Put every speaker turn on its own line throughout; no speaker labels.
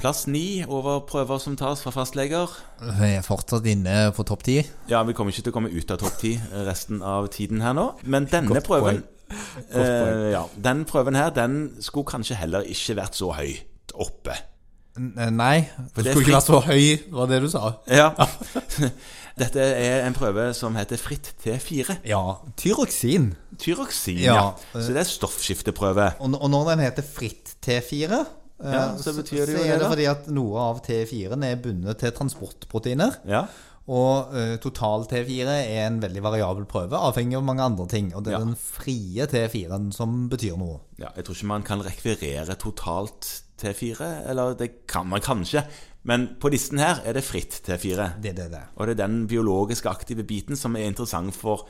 Plass ni over prøver som tas fra fastleger.
Vi er fortsatt inne på topp ti.
Ja, vi kommer ikke til å komme ut av topp ti eh, resten av tiden her nå. Men denne
Godt
prøven
poeng. poeng.
eh, ja, Den prøven her, den skulle kanskje heller ikke vært så høyt oppe.
N- Nei, du
det er
skulle ikke
fritt.
vært så høy, var det du sa.
Ja. Dette er en prøve som heter Fritt T4.
Ja. Tyroksin.
Tyroksin, ja. eh.
Ja.
Så det er stoffskifteprøve.
Og, og når den heter fritt T4, eh,
Ja, så betyr det jo
så
det
er det
da.
fordi at noe av T4-en er bundet til transportproteiner.
Ja.
Og eh, total T4 er en veldig variabel prøve, avhengig av mange andre ting. Og det er
Ja.
den frie T4-en som betyr noe.
ja. Jeg tror ikke man kan rekvirere totalt T4. Eller det kan man kanskje. Men på listen her er det fritt T4.
Det er det det er.
Og det er den biologisk aktive biten som er interessant for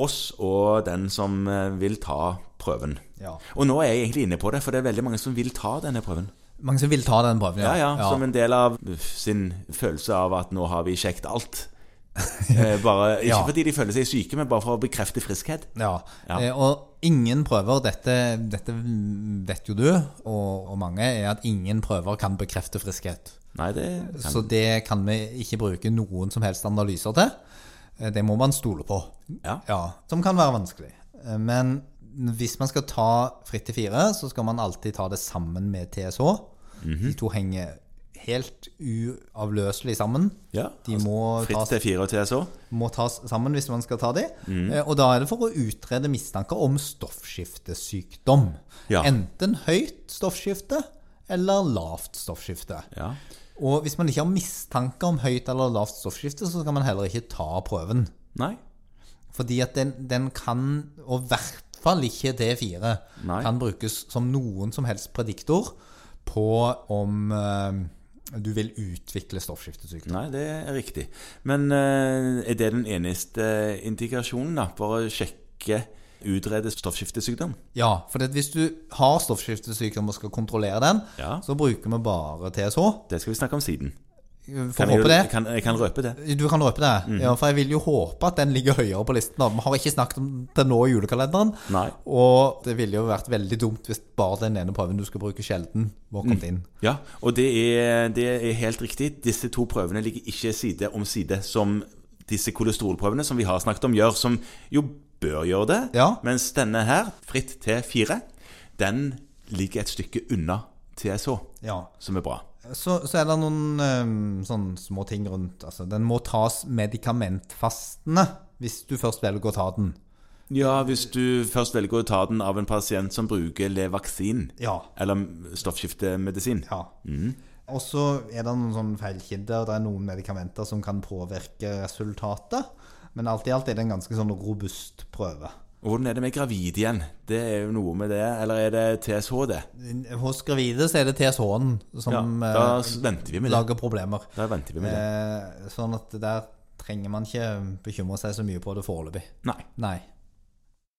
oss og den som eh, vil ta prøven.
Ja.
Og nå er jeg egentlig inne på det, for det er veldig mange som vil ta denne prøven.
Mange som vil ta den prøven,
Ja, ja, Som en del av uff, sin følelse av at nå har vi sjekket alt. Eh, Bare, ikke
Ja.
fordi de føler seg syke, men bare for å bekrefte friskhet.
Ja,
Ja.
eh, og ingen prøver, dette, dette vet jo du, og, og mange, er at ingen prøver kan bekrefte friskhet.
Nei, det kan
Så det kan vi ikke bruke noen som helst analyser til. Eh, Det må man stole på.
Ja.
som kan være vanskelig. Eh, Men hvis man skal ta fritt til fire, så skal man alltid ta det sammen med TSH.
Mhm.
De to henger helt uavløselig sammen.
Ja, altså,
De må
Fritt
tas
til fire og TSH.
må tas sammen hvis man skal ta de.
Mm.
Eh, Og da er det for å utrede mistanker om stoffskiftesykdom.
Ja.
Enten høyt stoffskifte eller lavt stoffskifte.
Ja.
Og hvis man ikke har mistanke om høyt eller lavt stoffskifte, så skal man heller ikke ta prøven.
Nei.
Fordi at den, den kan, og i hvert fall ikke D4,
Nei.
kan brukes som noen som helst prediktor på om eh, du vil utvikle stoffskiftesykdom.
Nei, det er riktig. Men eh, er det den eneste eh, indikasjonen da, for å sjekke utrede stoffskiftesykdom?
Ja, for det, hvis du har stoffskiftesykdom og skal kontrollere den,
Ja.
så bruker vi bare TSH.
Det skal vi snakke om siden.
Får
jeg,
håpe det.
Jeg kan, Mhm. jeg kan røpe det.
Du kan røpe det. Ja, for jeg vil jo håpe at den ligger høyere på listen. da. Vi har ikke snakket om det nå i julekalenderen.
Nei.
Og det ville jo vært veldig dumt hvis bare den ene prøven du skal bruke sjelden, var kommet inn.
Ja, og det er, det er helt riktig. Disse to prøvene ligger ikke side om side som disse kolesterolprøvene som vi har snakket om, gjør. Som jo bør gjøre det.
Ja.
Mens denne her, fritt T4, den ligger et stykke unna TSH,
Ja.
som er bra.
Så, så er det noen ehm, sånne små ting rundt. Altså, den må tas medikamentfastende hvis du først velger å ta den.
Ja, hvis du først velger å ta den av en pasient som bruker levaksin,
Ja.
eller stoffskiftemedisin.
Ja. Og så er det noen sånne feilkilder, det er noen medikamenter som kan påvirke resultatet. Men alt i alt er det en ganske sånn robust prøve.
Og hvordan er det med gravid igjen? Det er jo noe med det, eller er det TSH det?
Hos gravide så er det TSH-en som
Ja,
eh,
da s- venter vi med det.
lager problemer.
Da venter vi med det.
Eh, sånn at der trenger man ikke bekymre seg så mye på det foreløpig.
Nei.
Nei.